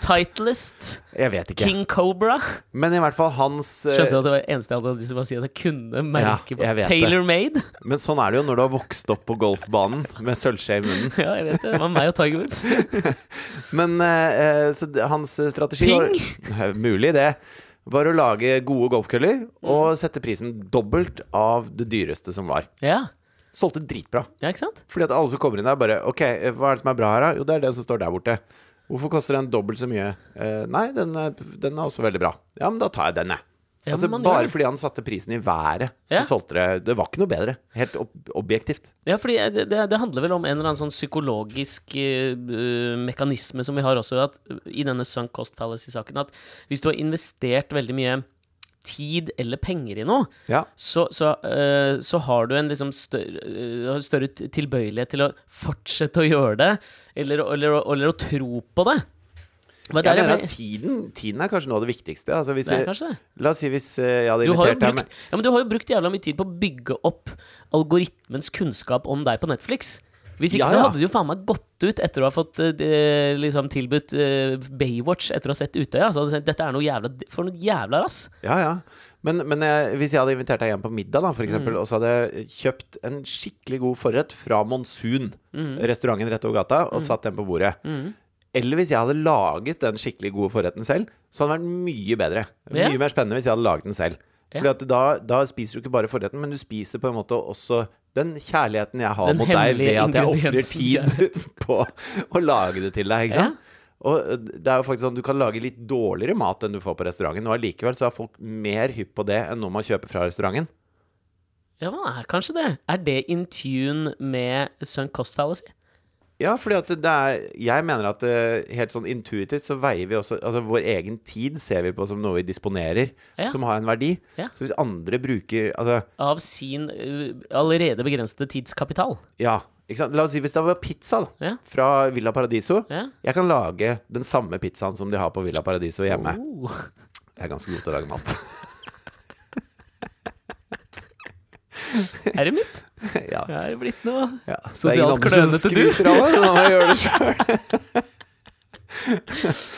Titleist? Jeg vet ikke. King Cobra? Men i hvert fall hans eh, Skjønte du at det var det eneste jeg hadde lyst til å bare si at jeg kunne merke Ja, jeg vet det. Tailor made? Men sånn er det jo når du har vokst opp på golfbanen med sølvskje i munnen. ja, jeg vet det. Det var meg og Tiger Woods. Men eh, eh, så d- hans eh, strategi var Mulig det Var å lage gode golfkøller Mm. Og sette prisen dobbelt av det dyreste som var Ja. Solgte dritbra ja, ikke sant? Fordi at alle som kommer inn der bare Ok, eh, hva er det som er bra her da? Jo, det er det som står der borte Hvorfor koster den dobbelt så mye? Eh, nei, den er, den er også veldig bra Ja, men da tar jeg den jeg Ja, altså, men man gjør bare det. fordi han satte prisen i været Så Ja. solgte det Det var ikke noe bedre Helt ob objektivt Ja, fordi eh, det, det, det handler vel om en eller annen sånn psykologisk eh, eh, mekanisme som vi har også at, eh, i denne sunk cost fallacy-saken, at hvis du har investert veldig mye tid eller penger i noe, Ja, så, så, eh, så har du en liksom større, eh, har større t- tilbøyelighet til å fortsette å gjøre det, eller, å- eller, å- eller å tro på det. Hva jeg der jeg mener ble- at tiden, tiden er kanskje noe av det viktigste altså, hvis Det er jeg- kanskje det. La oss si hvis eh, jeg hadde Du har, jo invitert deg med brukt, ja, men du har jo brukt jævla mye tid på å bygge opp algoritmens kunnskap om deg på Netflix. Hvis ikke Ja, så ja. hadde du jo faen meg gått ut etter å ha fått eh, de- liksom tilbudt eh, Baywatch etter å ha sett Utøya. Så hadde du sagt dette er noe jævla For noe jævla rass. Ja, ja. Men, men jeg, hvis jeg hadde invitert deg hjem på middag, da, for eksempel, og så hadde jeg kjøpt en skikkelig god forrett fra Monsun, restauranten rett over gata, og satt den på bordet. Eller hvis jeg hadde laget den skikkelig gode forretten selv, så hadde den vært mye bedre. Ja. Mye mer spennende hvis jeg hadde laget den selv. Fordi at da, da spiser du ikke bare forretten, men du spiser på en måte også den kjærligheten jeg har Den mot deg ved hemmelige at jeg ofrer ingrediensen tid på å lage det til deg. ikke Ja. sant? Og det er jo faktisk sånn Du kan lage litt dårligere mat enn du får på restauranten, og allikevel så er folk mer hypp på det enn noe man kjøper fra restauranten. Ja, men det er kanskje det. Er det in tune med sunk cost fallacy? Ja, fordi at det er Jeg mener at eh, helt sånn intuitivt så veier vi også Altså vår egen tid ser vi på som noe vi disponerer, Ja. som har en verdi. Ja. Så hvis andre bruker Altså, Av sin eh, allerede begrensede tidskapital. ja. Ikke sant? La oss si hvis det var pizza da, Ja. fra Villa Paradiso. Ja. Jeg kan lage den samme pizzaen som de har på Villa Paradiso hjemme. Oh. Jeg er ganske god til å lage mat. Er det mitt? ja. Det er blitt noe Ja. Sosialt klønete du. du. Av meg, sånn at jeg gjør det selv.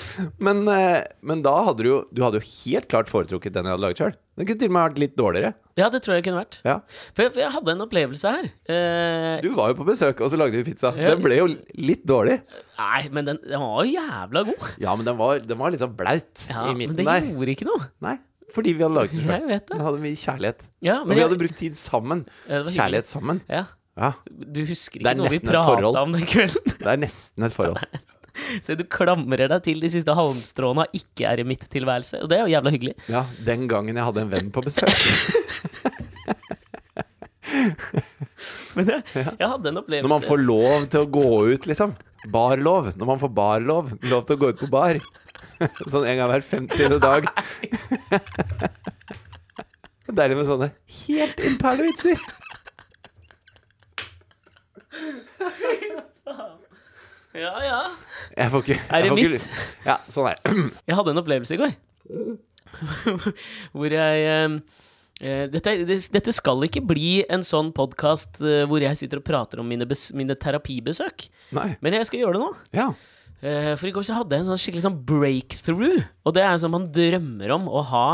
men, eh, men da hadde du jo Du hadde jo helt klart foretrukket den jeg hadde laget sjøl. Den kunne til og med vært litt dårligere. Ja, det tror jeg det kunne vært. Ja. For jeg, for jeg hadde en opplevelse her. Eh, Du var jo på besøk, og så lagde vi pizza. Ja. Den ble jo litt dårlig. Nei, men den, den var jo jævla god. Ja, men den var, den var litt sånn blaut Ja, i men midten det der. gjorde ikke noe. Nei, fordi vi hadde laget den Jeg sjøl. vet det. Den hadde mye kjærlighet. Ja, Og men vi jeg, hadde brukt tid sammen. Ja, det var hyggelig. Kjærlighet sammen. ja, Ja. du husker Det ikke er noe vi nesten et forhold. prata om den kvelden. Det er nesten et forhold. Så du klamrer deg til de siste halmstråene av ikke-eremitt-tilværelse. Og det er jo jævla hyggelig. Ja, den gangen jeg hadde en venn på besøk. Men jeg, jeg hadde en opplevelse Når man får lov til å gå ut, liksom. Barlov. Når man får barlov. Lov til å gå ut på bar. Sånn en gang hver 50. dag. Deilig med sånne helt interne vitser. Ja, ja. Jeg får ikke Er det jeg får ikke- mitt? Ja, sånn er det. Jeg hadde en opplevelse i går. Hvor jeg eh, eh, dette, det- dette skal ikke bli en sånn podkast hvor jeg sitter og prater om mine, bes, mine terapibesøk. Nei. Men jeg skal gjøre det nå. Ja. Eh, For i går så hadde jeg en sånn skikkelig sånn breakthrough. Og det er sånn man drømmer om å ha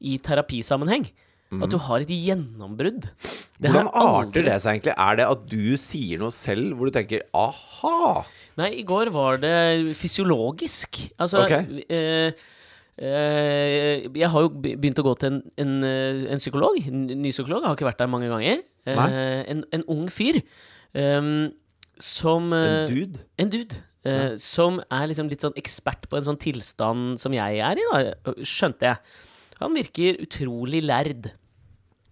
i terapisammenheng. At du har et gjennombrudd. Det har Mhm. Hvordan jeg arter aldri- det seg egentlig? Er det at du sier noe selv hvor du tenker 'aha'? Nei, i går var det fysiologisk. Altså Ok. eh, eh, Jeg har jo be- begynt å gå til en, en, eh, en psykolog. En ny psykolog. Jeg har ikke vært der mange ganger. Eh, Nei. en, en ung fyr eh, som En eh, dude? En dude eh, som er liksom litt sånn ekspert på en sånn tilstand som jeg er i, da, skjønte jeg. Han virker utrolig lærd.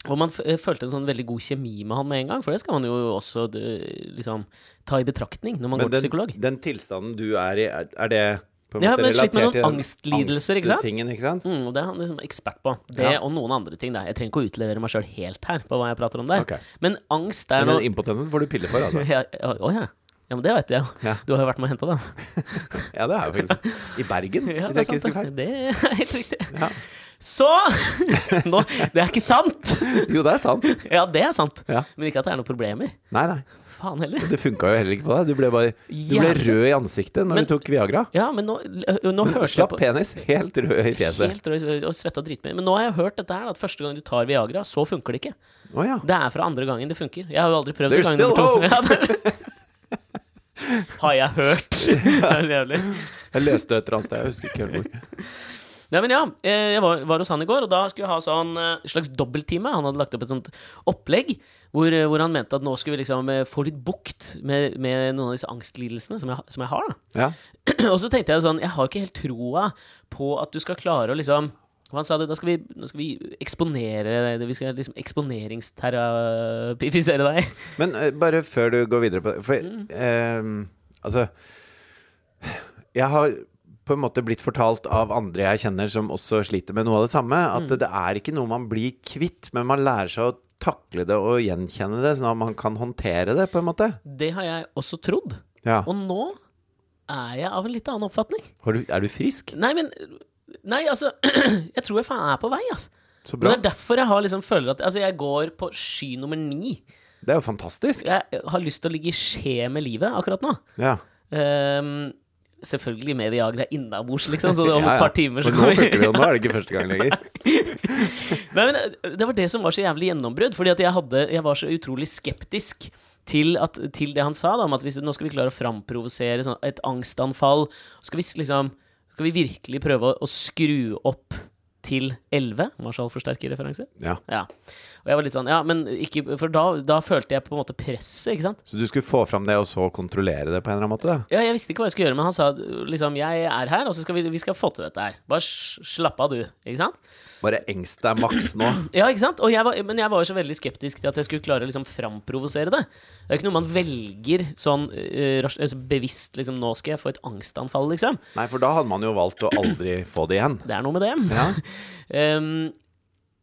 Og man f eh, følte en sånn veldig god kjemi med han med en gang, for det skal man jo også eh, liksom ta i betraktning når man Men går til den, psykolog. den tilstanden du er i, er, er det på en Ja, måte men slitt med relatert noen til den angstlidelser, ikke sant? angsttingen, ikke sant? Mm, og det er han liksom ekspert på. Det Ja. og noen andre ting. Da. Jeg trenger ikke å utlevere meg sjøl helt her på hva jeg prater om der. Ok. Men angst er Men noe den impotensen får du piller for, altså. Ja, Å å ja. ja, men det vet jeg jo. Ja. Du har jo vært med og henta den. Ja, det er jo faktisk I Bergen, Ja, hvis det, er jeg ikke sant, det. husker feil. det er helt riktig. Ja. Så nå, Det er ikke sant! Jo, det er sant. Ja, det er sant. Ja. Men ikke at det er noen problemer. Nei, nei. Faen heller. Det funka jo heller ikke på deg. Du ble, bare, du ble Jævlig. rød i ansiktet når Men- du tok Viagra. Ja, men nå, nå hørte jeg Slapp på penis helt rød i fjeset. Helt rød og svetta dritmye. Men nå har jeg hørt dette her, da, at første gang du tar Viagra, så funker det ikke. Å ja. Det er fra andre gangen det funker. Jeg har jo aldri prøvd There's gang nummer still to. hope! Ja, det- har jeg hørt. Det er jævlig. Jeg leste et eller annet sted, jeg husker ikke helt hvor. Nei, men ja, eh, jeg var, var hos han i går, og da skulle jeg ha sånn eh, slags dobbelttime. Han hadde lagt opp et sånt opplegg hvor, eh, hvor han mente at nå skulle vi liksom eh, få litt bukt med, med noen av disse angstlidelsene som jeg, ha- som jeg har. da Ja. Og så tenkte jeg jo sånn, jeg har ikke helt troa på at du skal klare å liksom og han sa det, da skal vi, nå skal vi eksponere deg, vi skal liksom eksponeringsterapifisere deg. Men eh, bare før du går videre på det For Mm. eh, altså Jeg har på en måte blitt fortalt av andre jeg kjenner som også sliter med noe av det samme, Mm. at det er ikke noe man blir kvitt, men man lærer seg å takle det og gjenkjenne det, sånn at man kan håndtere det, på en måte. Det har jeg også trodd. Ja. Og nå er jeg av en litt annen oppfatning. Har du, er du frisk? Nei, men Nei, altså. Jeg tror jeg faen er på vei, altså. Så Men bra. det er derfor jeg har liksom føler at Altså, jeg går på sky nummer ni. Det er jo fantastisk. Jeg har lyst til å ligge i skje med livet akkurat nå. Ja. Ehm, selvfølgelig med Viagra innabords, liksom, så det om Ja, ja. et par timer så For nå kommer funker det jo, nå er det ikke første gang lenger. Nei, men eh, Det var det som var så jævlig gjennombrudd. Fordi at jeg, hadde, jeg var så utrolig skeptisk til, at, til det han sa, da, om at hvis, nå skal vi klare å framprovosere sånn, et angstanfall. Skal vi, s- liksom, skal vi virkelig prøve å, å skru opp til 11? Marshall-forsterkerreferanse. Ja. Ja. Og jeg var litt sånn Ja, men ikke For da, da følte jeg på en måte presset, ikke sant? Så du skulle få fram det, og så kontrollere det på en eller annen måte? Da. Ja, jeg visste ikke hva jeg skulle gjøre, men han sa liksom Jeg er her, og så skal vi, vi skal få til dette her. Bare s- slapp av, du. Ikke sant? Bare engst deg maks nå. Ja, ikke sant? Og jeg var, men jeg var jo så veldig skeptisk til at jeg skulle klare å liksom framprovosere det. Det er jo ikke noe man velger sånn eh, ras- altså bevisst liksom Nå skal jeg få et angstanfall, liksom. Nei, for da hadde man jo valgt å aldri få det igjen. Det er noe med det. Ja, Ehm,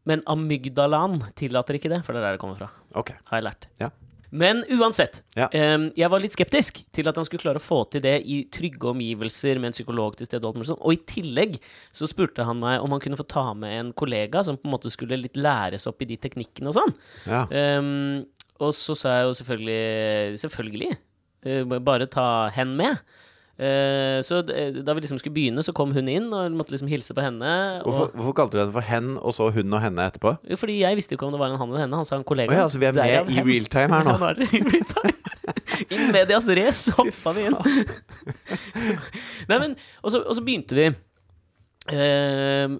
men amygdalaen tillater ikke det, for det er der det kommer fra. ok. Har jeg lært. Ja. Men uansett. Ja. ehm, jeg var litt skeptisk til at han skulle klare å få til det i trygge omgivelser med en psykolog til stede. og alt mulig sånt. Og i tillegg så spurte han meg om han kunne få ta med en kollega som på en måte skulle litt læres opp i de teknikkene og sånn. Ja. Ehm, og så sa jeg jo selvfølgelig Selvfølgelig. eh, b- bare ta hen med. Eh, så d- da vi liksom skulle begynne, så kom hun inn og måtte liksom hilse på henne. Hvorfor, Og, hvorfor kalte du den for hen, og så hun og henne etterpå? Jo, fordi jeg visste jo ikke om det var en han eller henne. Han sa en kollega. Å ja, så vi er Derav med i hen. real time her Ja, nå. nå er det i real time. I medias race hoppa vi inn. Nei, men, og, så, og så begynte vi. Ehm,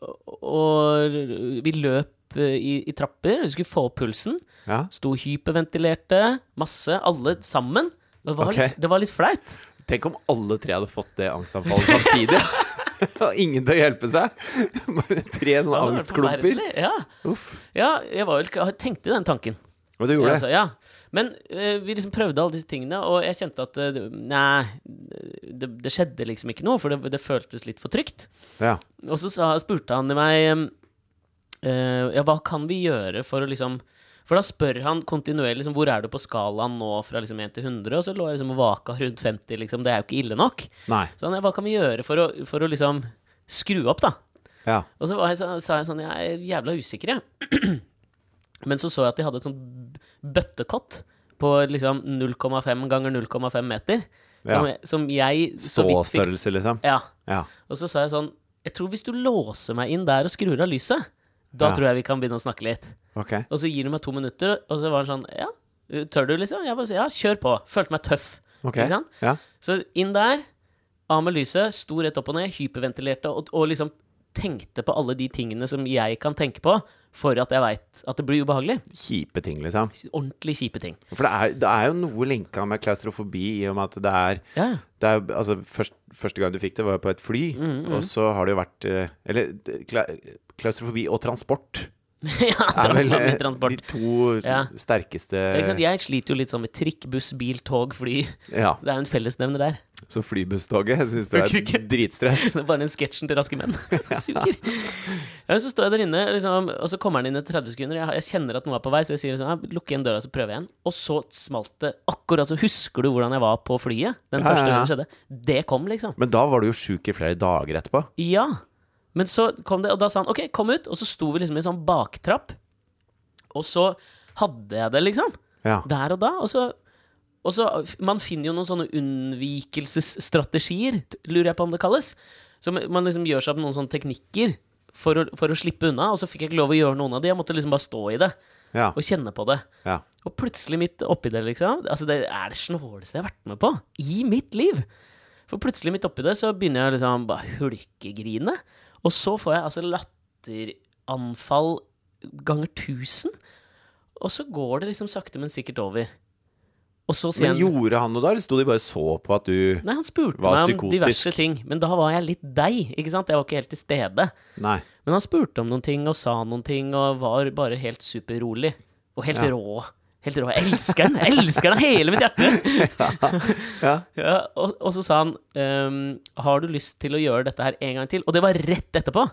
og, og vi løp eh, i, i trapper. Vi skulle få opp pulsen. Ja. Sto hyperventilerte, masse, alle sammen. Det var, Ok. litt, det var litt flaut. Tenk om alle tre hadde fått det angstanfallet samtidig. Og ingen til å hjelpe seg. Bare tre sånne Det var angstklumper. forferdelig, Ja. Uff. ja, jeg var vel, ikke- jeg tenkte den tanken. Og du gjorde Ja, altså, ja. Men eh, vi liksom prøvde alle disse tingene, og jeg kjente at eh, det- Nei, det, det skjedde liksom ikke noe, for det, det føltes litt for trygt. det? Ja. Og så sa, spurte han meg ehm, eh, Ja, hva kan vi gjøre for å liksom For da spør han kontinuerlig liksom, hvor er du på skalaen nå fra liksom 1 til 100, og så lå jeg liksom og vaka rundt 50, liksom. Det er jo ikke ille nok. Nei. Så han, ja, hva kan vi gjøre for å, for å liksom skru opp, da? Ja. Og så var jeg, så, sa jeg sånn Jeg er jævla usikker, jeg. Men så så jeg at de hadde et sånt b- bøttekott på liksom 0,5 ganger 0,5 meter. Som, Ja. som jeg så Så vidt fikk størrelse, liksom? Ja. Ja. Og så sa jeg sånn Jeg tror hvis du låser meg inn der og skrur av lyset, da Ja. tror jeg vi kan begynne å snakke litt. Ok. Og så gir du meg to minutter, og så var han sånn Ja, tør du, liksom? Jeg bare sa ja, kjør på. Følte meg tøff. Ok. Ikke sant? Ja. Så inn der, av med lyset, sto rett opp og ned, hyperventilerte og, og liksom tenkte på alle de tingene som jeg kan tenke på for at jeg veit at det blir ubehagelig. Kjipe ting, liksom. Ordentlig kjipe ting. For det er, det er jo noe linka med klaustrofobi i og med at det er Ja, ja. det er, jo- altså, først, første gang du fikk det, var jo på et fly. Mm, Og så har det jo vært eh, Eller det- kla, klaustrofobi og transport ja, er vel transport, eh, altså transport. de to s- Ja. Ikke sant? sterkeste Jeg sliter jo litt sånn med trikk, buss, bil, tog, fly. Ja. Det er jo en fellesnevner der. Så flybusstoget syns du er et dritstress. Det er bare den sketsjen til Raske menn. Det Suger. Ja, så står jeg der inne, liksom, og så kommer han inn i 30 sekunder. Jeg, jeg kjenner at noe er på vei, så jeg sier liksom, ja, lukk igjen døra, så prøver jeg igjen. Og så smalt det akkurat. Så husker du hvordan jeg var på flyet? Den Ja, ja, første ja. gangen det skjedde. Det kom, liksom. Men da var du jo sjuk i flere dager etterpå. Ja. Men så kom det, og da sa han OK, kom ut. Og så sto vi liksom i en sånn baktrapp. Og så hadde jeg det, liksom. Ja. Der og da. Og så, og så Man finner jo noen sånne unnvikelsesstrategier, t- lurer jeg på om det kalles. Så man- man liksom gjør seg opp noen sånne teknikker for å, for å slippe unna. Og så fikk jeg ikke lov å gjøre noen av de. Jeg måtte liksom bare stå i det Ja. og kjenne på det. ja. Og plutselig midt oppi det, liksom Altså, det er det snåleste jeg har vært med på i mitt liv. For plutselig midt oppi det, så begynner jeg liksom bare hulkegrine. Og så får jeg altså latteranfall ganger tusen. Og så går det liksom sakte, men sikkert over. Og så sier Men han gjorde han noe da, eller sto de bare og så på at du Nei, han spurte Var meg om psykotisk. diverse ting, men da var jeg litt deg, ikke sant? Jeg var ikke helt til stede. Nei. Men han spurte om noen ting og sa noen ting og var bare helt superrolig. Og helt Ja. rå. Helt rå. Jeg elsker den! Jeg elsker den av hele mitt hjerte! Ja. Ja, og, og så sa han ehm, Har du lyst til å gjøre dette her en gang til? Og det var rett etterpå. Og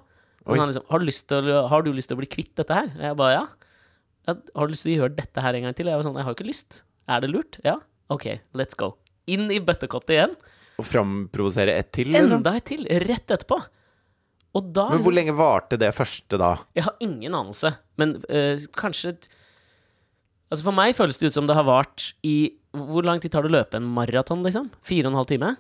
Oi. så han liksom, har, du lyst til å, har du lyst til å bli kvitt dette her? Og jeg bare ja. ja. Har du lyst til å gjøre dette her en gang til? Og jeg var sånn, jeg har ikke lyst. Er det lurt? Ja. Ok, let's go. Inn i bøttekottet igjen. Og framprovosere ett til, liksom? Enda et til. Rett etterpå. Og da Men hvor lenge varte det første da? Jeg har ingen anelse, men eh, kanskje et- Altså For meg føles det ut som det har vart i Hvor lang tid tar det å løpe en maraton, liksom? Fire og en halv time?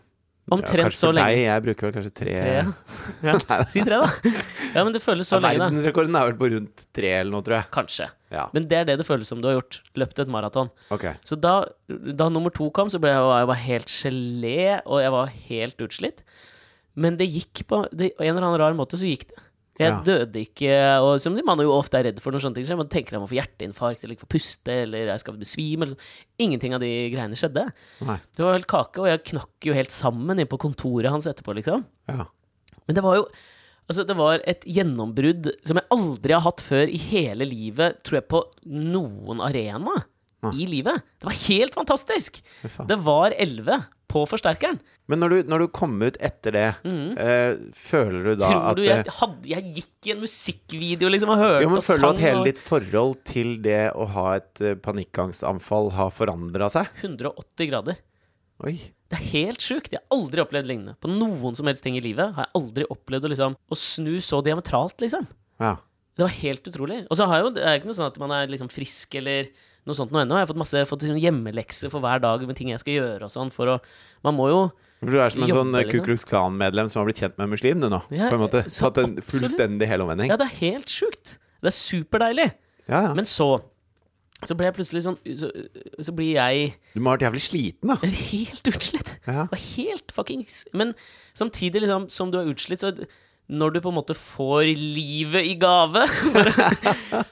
ja, Omtrent kanskje så for lenge. Deg, eh. jeg bruker vel kanskje tre, Tre, ja. ja. Si tre, da. Ja, men det føles så Ja, lenge, da. Verdensrekorden er vel på rundt tre eller noe, tror jeg. Kanskje. Ja, Men det er det det føles som du har gjort. Løpt et maraton. ok. Så da, da nummer to kom, så ble jeg, var jeg bare helt gelé, og jeg var helt utslitt. Men det gikk på det, En eller annen rar måte, så gikk det. Jeg Ja. døde ikke, og som man jo ofte er redd for når sånne ting skjer. Man tenker at man får hjerteinfarkt, eller ikke får puste, eller jeg skal besvime, eller sånn. Ingenting av de greiene skjedde. Nei. Det var helt kake, og jeg knakk jo helt sammen inne på kontoret hans etterpå, liksom. Ja. Men det var jo Altså, det var et gjennombrudd som jeg aldri har hatt før i hele livet, tror jeg, på noen arena i livet. Det var helt fantastisk! Fy faen. Det var 11 på forsterkeren. Men når du, når du kom ut etter det, eh, føler du da Mm. tror at du eh, jeg, hadde, jeg gikk i en musikkvideo liksom og hørte jo, men og Føler du at sang hele og- ditt forhold til det å ha et eh, panikkangstanfall har forandra seg? 180 grader. Oi. Det er helt sjukt. Jeg har aldri opplevd lignende. På noen som helst ting i livet har jeg aldri opplevd å, liksom, å snu så diametralt, liksom. Ja. Det var helt utrolig. Og så har jeg jo, det er ikke noe sånn at man er liksom frisk eller noe sånt noe ennå. Jeg har fått masse fått liksom hjemmelekser for hver dag med ting jeg skal gjøre og sånn. For å, man må jo For du er som en Jobber, sånn eh, Ku liksom. Klux Klan-medlem som har blitt kjent med en muslim, du nå. Ja, på en måte. så Tatt en absolutt. fullstendig helomvending. Ja, det er helt sjukt. Det er superdeilig. Ja, ja. Men så så ble jeg plutselig sånn Så, så blir jeg Du må ha vært jævlig sliten, da. helt utslitt. Ja. Det var helt fuckings Men samtidig, liksom, som du er utslitt, så når du på en måte får livet i gave,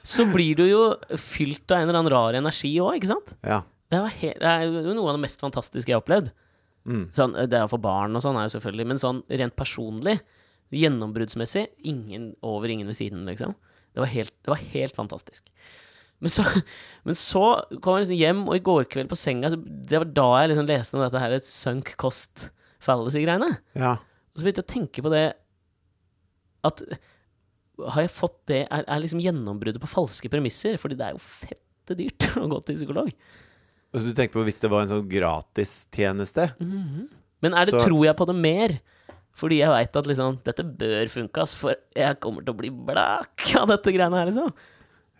så blir du jo fylt av en eller annen rar energi òg, ikke sant? Ja. Det, var helt, det er jo noe av det mest fantastiske jeg har opplevd. Mm. Sånn, det å få barn og sånn er jo selvfølgelig, men sånn rent personlig, gjennombruddsmessig, ingen over, ingen ved siden, liksom. Det var helt, det var helt fantastisk. Men så, men så kom jeg liksom hjem, og i går kveld på senga så Det var da jeg liksom leste om dette her sunk cost fallacy-greiene. Ja. Og så begynte jeg å tenke på det At har jeg fått det Er, er liksom gjennombruddet på falske premisser? Fordi det er jo fette dyrt å gå til psykolog. Og så Altså, du tenker på hvis det var en sånn gratistjeneste? Mm. Men er det, Så- tror jeg på det mer? Fordi jeg veit at liksom, dette bør funke, ass, for jeg kommer til å bli blakk av dette greiene her, liksom.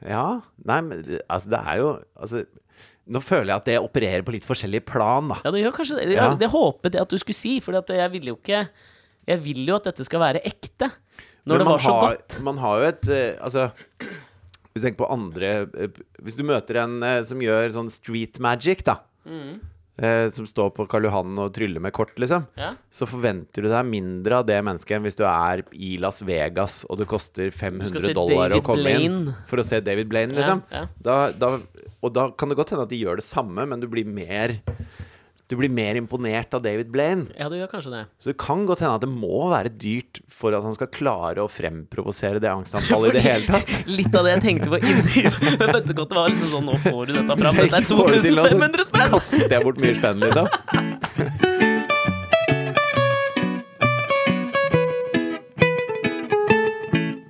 Ja. Nei, men det- altså, det er jo Altså, nå føler jeg at det opererer på litt forskjellig plan, da. Ja, det gjør kanskje det. Ja. Ja. Det håpet jeg at du skulle si, for jeg ville jo ikke Jeg vil jo at dette skal være ekte. Når Men det man var så har, godt. Man har jo et eh, Altså hvis du tenker på andre eh, Hvis du møter en eh, som gjør sånn street magic, da. Mm. eh, Som står på Karl Johan og tryller med kort, liksom. Ja. Så forventer du deg mindre av det mennesket enn hvis du er i Las Vegas og det koster skal se 500 dollar å David komme inn Blaine. for å se David Blaine, Ja, liksom. ja. Da, da, og da kan det godt hende at de gjør det samme, men du blir mer Du blir mer imponert av David Blaine. ja, det gjør kanskje det. Så det kan godt hende at det må være dyrt for at han skal klare å fremprovosere det angstanfallet i det Fordi- hele tatt. Litt av det jeg tenkte på inni Men vet du godt, det var liksom sånn Nå får du dette fram. Dette er Hvis jeg ikke får det til, da, 2500 så spenn! Kaster jeg bort mye spenn, liksom?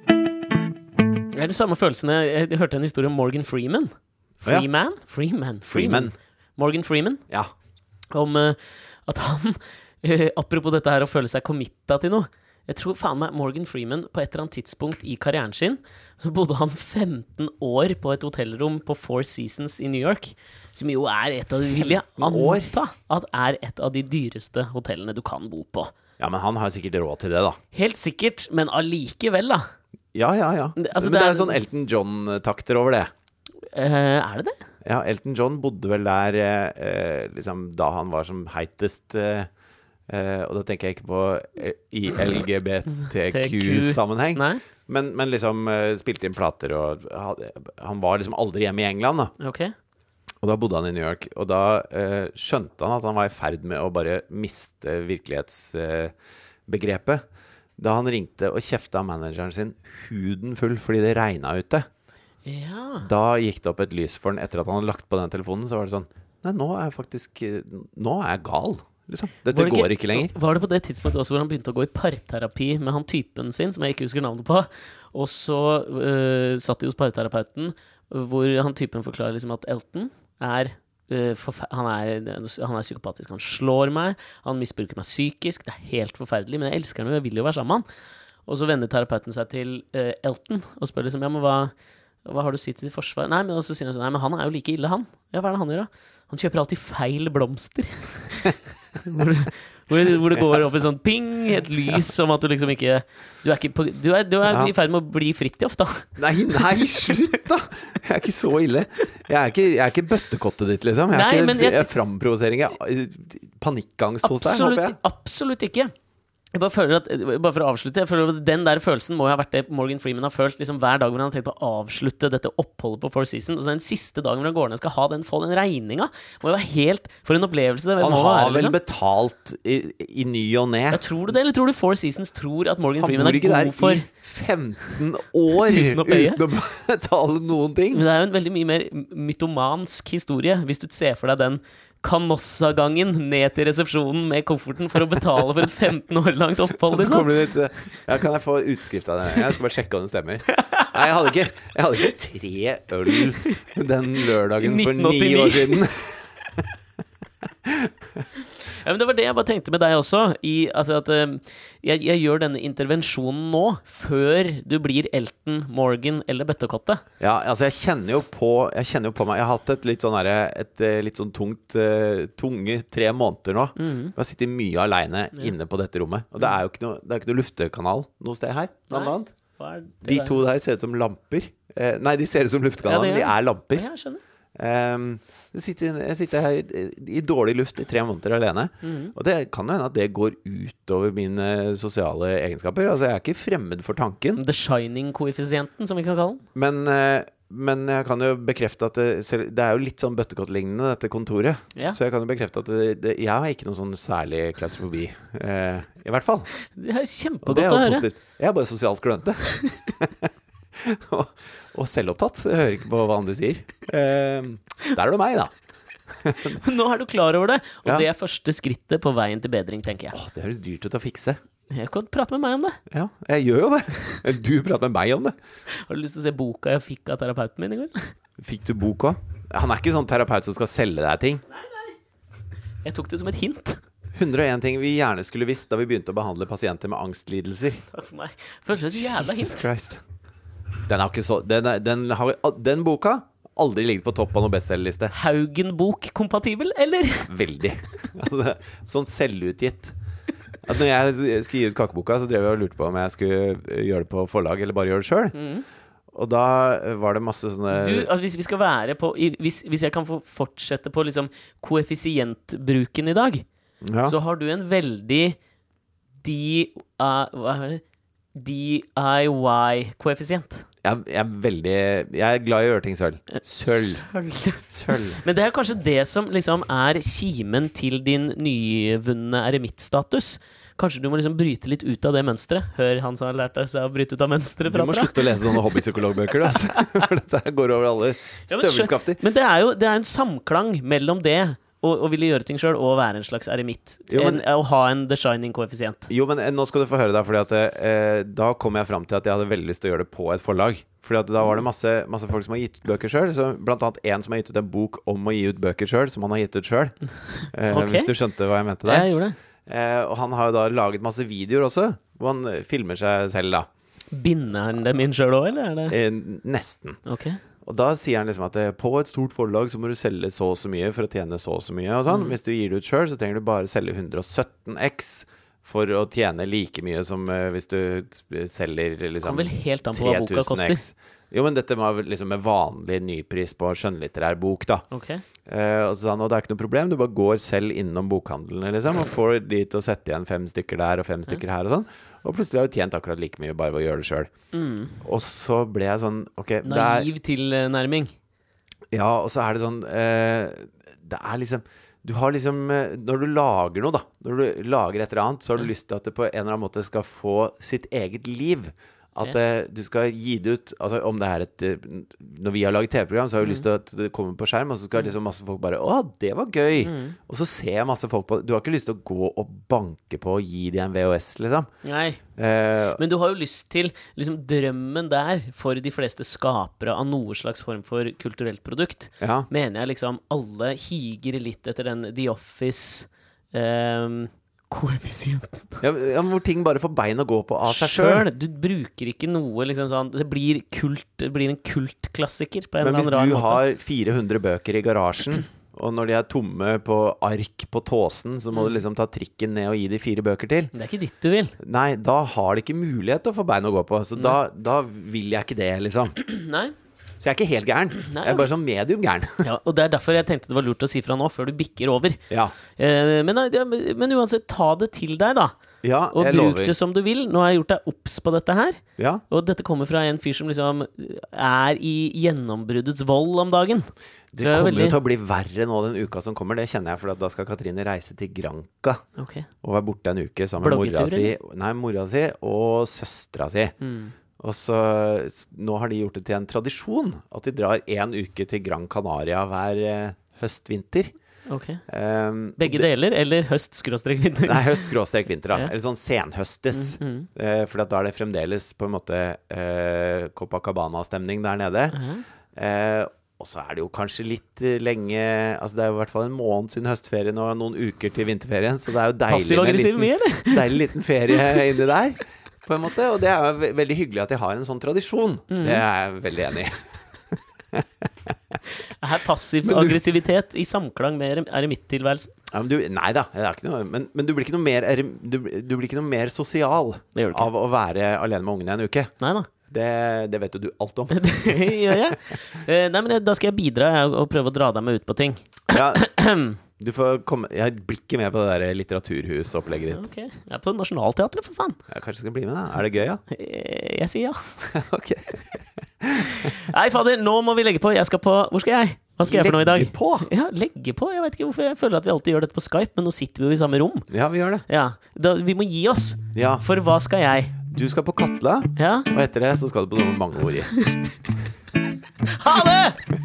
Det er de samme følelsene Jeg jeg hørte en historie om Morgan Freeman. Å, ja. Freeman? Freeman. Freeman. Morgan Freeman. Ja. Om eh, at han eh, Apropos dette her å føle seg committa til noe. Jeg tror faen meg Morgan Freeman på et eller annet tidspunkt i karrieren sin så bodde han 15 år på et hotellrom på Four Seasons i New York. Som jo er et av de vil jeg 15 år? anta at er et av de dyreste hotellene du kan bo på. ja, men han har sikkert råd til det, da. Helt sikkert, men allikevel, da. Ja, ja, ja. Det- altså, men det det er, er- sånn Elton John-takter over det. Eh, er det det? Ja, Elton John bodde vel der eh, eh, liksom da han var som heitest. Eh, eh, og da tenker jeg ikke på eh, i LGBTQ-sammenheng. Nei? Men, men liksom eh, spilte inn plater og hadde, Han var liksom aldri hjemme i England, da. Ok. Og da bodde han i New York, og da eh, skjønte han at han var i ferd med å bare miste virkelighetsbegrepet. da han ringte og kjefta manageren sin huden full fordi det regna ute. Ja. Da gikk det opp et lys for han etter at han hadde lagt på den telefonen. Så var det sånn Nei, nå er jeg faktisk eh, Nå er jeg gal, liksom. Dette Var det går ikke lenger. Var det på det tidspunktet også hvor han begynte å gå i parterapi med han typen sin, som jeg ikke husker navnet på, og så øh, satt de hos parterapeuten, hvor han typen forklarer liksom at Elton er øh, forfe- han, er, han er psykopatisk. Han slår meg, han misbruker meg psykisk. Det er helt forferdelig, men jeg elsker ham jo, jeg vil jo være sammen med han. Og så vender terapeuten seg til øh, Elton og spør liksom ja, men hva, hva har du å si til ditt forsvar? Nei, men, og så sier han sånn, nei, men han er jo like ille, han. Ja, hva er det han gjør, da? Han kjøper alltid feil blomster. hvor, hvor, hvor det går opp en sånn ping, et lys, som at du liksom ikke Du er, ikke på, du er, du er Ja. i ferd med å bli Fridtjof, da. Nei, nei, slutt, da! Jeg er ikke så ille. Jeg er ikke, jeg er ikke bøttekottet ditt, liksom. Jeg er Nei, ikke men jeg- jeg er framprovosering. Jeg er panikkangst hos deg, håper jeg. Absolutt, absolutt ikke. Jeg bare, føler at, bare for å avslutte jeg føler at Den der følelsen må jo ha vært det Morgan Freeman har følt liksom hver dag hvor han har tenkt på å avslutte dette oppholdet på Four Seasons. Og så den siste dagen hvor han går ned og skal ha den, få den regninga. Må jo være helt For en opplevelse det Han må har være. Liksom. vel betalt i, i ny og ne. Ja, tror du det, eller tror du Four Seasons tror at Morgan Han Freeman bor er ikke der god for i 15 år Uten uten å å, pøye. betale noen ting. Men det er jo en veldig mye mer mytomansk historie, hvis du ser for deg den Canossa-gangen ned til resepsjonen med kofferten for å betale for et 15 år langt opphold. Og så Liksom. kommer det ut eh, Ja, kan jeg få utskrift av det? Jeg skal bare sjekke om det stemmer. Nei, jeg hadde ikke, jeg hadde ikke tre øl den lørdagen for ni 1989. år siden. Ja, men det var det jeg bare tenkte med deg også. I, altså at, eh, jeg, jeg gjør denne intervensjonen nå, før du blir Elton, Morgan eller Bøttekottet. Ja, altså jeg kjenner jo på Jeg kjenner jo på meg Jeg har hatt et litt sånn derre Et eh, litt sånn tungt eh, Tunge tre måneder nå Mhm. Jeg har sittet mye alene inne på dette rommet Og det er jo ikke noe Det er ikke noe luftekanal Noe sted her Blant Nei. annet Hva er det De der? to der ser ut som lamper. Eh, nei, de ser ut som Ja, det luftkanaler. gjør men de de. er lamper. Ja, jeg skjønner. Ehm, jeg, sitter, jeg sitter her i, i dårlig luft i tre måneder alene. Mm. Og det kan jo hende at det går utover mine sosiale egenskaper. Altså, jeg er ikke fremmed for tanken, The Shining-koeffisienten, som vi kan kalle den. men, eh, men jeg kan jo bekrefte at det, selv, det er jo litt sånn bøttekottlignende, dette kontoret. Ja. Så jeg kan jo bekrefte at det, det, jeg har ikke noen sånn særlig klaustrofobi. eh, I hvert fall. Det er Og det kjempegodt er å jo høre. positivt. Jeg er bare sosialt klønete. og, og selvopptatt. Jeg hører ikke på hva andre sier. Eh, der er du meg, da. Nå er du klar over det, og Ja. det er første skrittet på veien til bedring, tenker jeg. Åh, det høres dyrt ut å fikse. Jeg kan prate med meg om det. Ja, jeg gjør jo det. Du prater med meg om det. Har du lyst til å se boka jeg fikk av terapeuten min i går? Fikk du bok òg? Han er ikke sånn terapeut som skal selge deg ting. Jeg tok det som et hint. 101 ting vi gjerne skulle visst da vi begynte å behandle pasienter med angstlidelser. Takk for meg. Føles som et jævla hint. Jesus Christ. Den, har ikke så, den, er, den, har, den boka har aldri ligget på topp av noen bestselgerliste. Haugen-bok-kompatibel, eller? Veldig. Altså, sånn selvutgitt. At når jeg skulle gi ut Kakeboka, så drev jeg og lurte på om jeg skulle gjøre det på forlag eller bare gjøre det sjøl. Og da var det masse sånne Mm. Du, altså, hvis vi skal være på i- Hvis, hvis jeg kan få fortsette på liksom koeffisientbruken i dag, ja. så har du en veldig D... Uh, hva er det? DIY-koeffisient. jeg, jeg er veldig Jeg er glad i å gjøre ting selv. Sølv. Sølv. Sølv. Men det er kanskje det som liksom er kimen til din nyvunne eremittstatus. Kanskje du må liksom bryte litt ut av det mønsteret. Hør han som har lært deg seg å bryte ut av mønsteret. Du må prater, da. slutte å lese sånne hobbypsykologbøker, du, altså. For dette går over alle Ja, men skjø- støvelskafter. Men det er jo det er en samklang mellom det og å ville gjøre ting sjøl og å være en slags eremitt. Jo, men- en, å ha en the shining-koeffisient. Jo, men eh, nå skal du få høre deg, fordi at eh, da kom jeg fram til at jeg hadde veldig lyst til å gjøre det på et forlag. Fordi at da var det masse, masse folk som har gitt ut bøker sjøl, blant annet en som har gitt ut en bok om å gi ut bøker sjøl, som han har gitt ut sjøl. Eh, Ok. Hvis du skjønte hva jeg mente der. Jeg gjorde det. Eh, og han har jo da laget masse videoer også, hvor han eh, filmer seg selv, da. Binder han dem inn sjøl òg, eller er det Eh, nesten. Ok. Og da sier han liksom at eh, på et stort forlag så må du selge så og så mye for å tjene så og så mye. Og sånn. Mm. Hvis du gir det ut sjøl, så trenger du bare selge 117 X for å tjene like mye som eh, hvis du t- selger Kom liksom vel helt an på hva boka 3000 koster. X. Jo, men dette var vel liksom en vanlig nypris på skjønnlitterær bok, da. Ok. Eh, og så sa han og det er ikke noe problem, du bare går selv innom bokhandlene liksom, og får de til å sette igjen fem stykker der og fem stykker her og sånn. Og plutselig har du tjent akkurat like mye bare ved å gjøre det sjøl. Og så ble jeg sånn Ok, det er Mm. Naiv tilnærming. ja, og så er det sånn eh, Det er liksom Du har liksom eh, Når du lager noe, da. Når du lager et eller annet, så har du lyst til at det på en eller annen måte skal få sitt eget liv. At Ja. eh, du skal gi det ut Altså om det er et eh, Når vi har laget TV-program, så har vi lyst til at det kommer på skjerm, og så skal liksom masse folk bare Å, det var gøy! Og så ser jeg masse folk på Du har ikke lyst til å gå og banke på og gi de en VHS, liksom. Nei. Eh, Men du har jo lyst til liksom, drømmen der for de fleste skapere av noe slags form for kulturelt produkt. ja. mener jeg liksom alle higer litt etter den The ehm, Office-koeffisienten. Ja, ja, men hvor ting bare får bein å gå på av seg sjøl. Du bruker ikke noe liksom sånn Det blir, kult, det blir en kultklassiker på en Men eller hvis annen rar du måte. har 400 bøker i garasjen, og når de er tomme på ark på tåsen, så må Mm. du liksom ta trikken ned og gi de fire bøker til. Det er ikke ditt du vil. Nei, da har de ikke mulighet til å få bein å gå på. Så da, da vil jeg ikke det, liksom. Nei. Så jeg er ikke helt gæren. Nei, Jeg er bare sånn medium gæren. Ja, og det er derfor jeg tenkte det var lurt å si fra nå, før du bikker over. Ja, Eh, men, nei, det- men uansett, ta det til deg, da. ja Og jeg bruk lover. det som du vil. Nå har jeg gjort deg obs på dette her. Ja. Og dette kommer fra en fyr som liksom er i gjennombruddets vold om dagen. Så Det jeg er kommer jo veldig- til å bli verre nå den uka som kommer, det kjenner jeg, for da skal Katrine reise til Granca. Ok. og var borte en uke sammen med mora Bloggetur, Mm. si, nei, mora si og søstera si. Og så s- Nå har de gjort det til en tradisjon at de drar én uke til Gran Canaria hver eh, høst-vinter. ok Um, Begge deler, eller høst-vinter? Nei, høst-vinter, da. Ja. Mhm. Eller sånn senhøstes. Mm. Eh, for at da er det fremdeles på en måte eh, Copacabana-stemning der nede. Eh, og så er det jo kanskje litt eh, lenge Altså det er jo i hvert fall en måned siden høstferien og noen uker til vinterferien, så det er jo deilig med en Passiv-aggressiv liten, mye, eller? deilig liten ferie inni der. På en måte, Og det er jo ve- veldig hyggelig at de har en sånn tradisjon. Mhm. Det er jeg veldig enig i. Er passiv aggressivitet i samklang med erem- eremittilværelsen? Ja, men du, nei da, det er ikke noe, men, men du, blir ikke noe mer, erem- du, du blir ikke noe mer sosial Det gjør du ikke. av å være alene med ungene en uke. Nei da. Det, det vet jo du alt om. Det gjør jeg. Eh, Nei, men jeg- da skal jeg bidra jeg, og prøve å dra deg med ut på ting. Ja, du får komme Jeg blir ikke med på det der litteraturhusopplegget ditt. Ok, Jeg er på Nationaltheatret, for faen. Jeg kanskje skal bli med, da. Er det gøy, ja? Eh, Jeg sier ja. Ok. Nei, fader, nå må vi legge på. Jeg skal på Hvor skal jeg? Hva skal jeg for noe i dag? Legge på! Ja, legge på? Jeg vet ikke hvorfor jeg føler at vi alltid gjør dette på Skype, men nå sitter vi jo i samme rom. Ja, vi gjør det. Ja, da, Vi må gi oss. Ja. For hva skal jeg? Du skal på Katla, Ja. og etter det så skal du på noe med mange ord i. Ha det!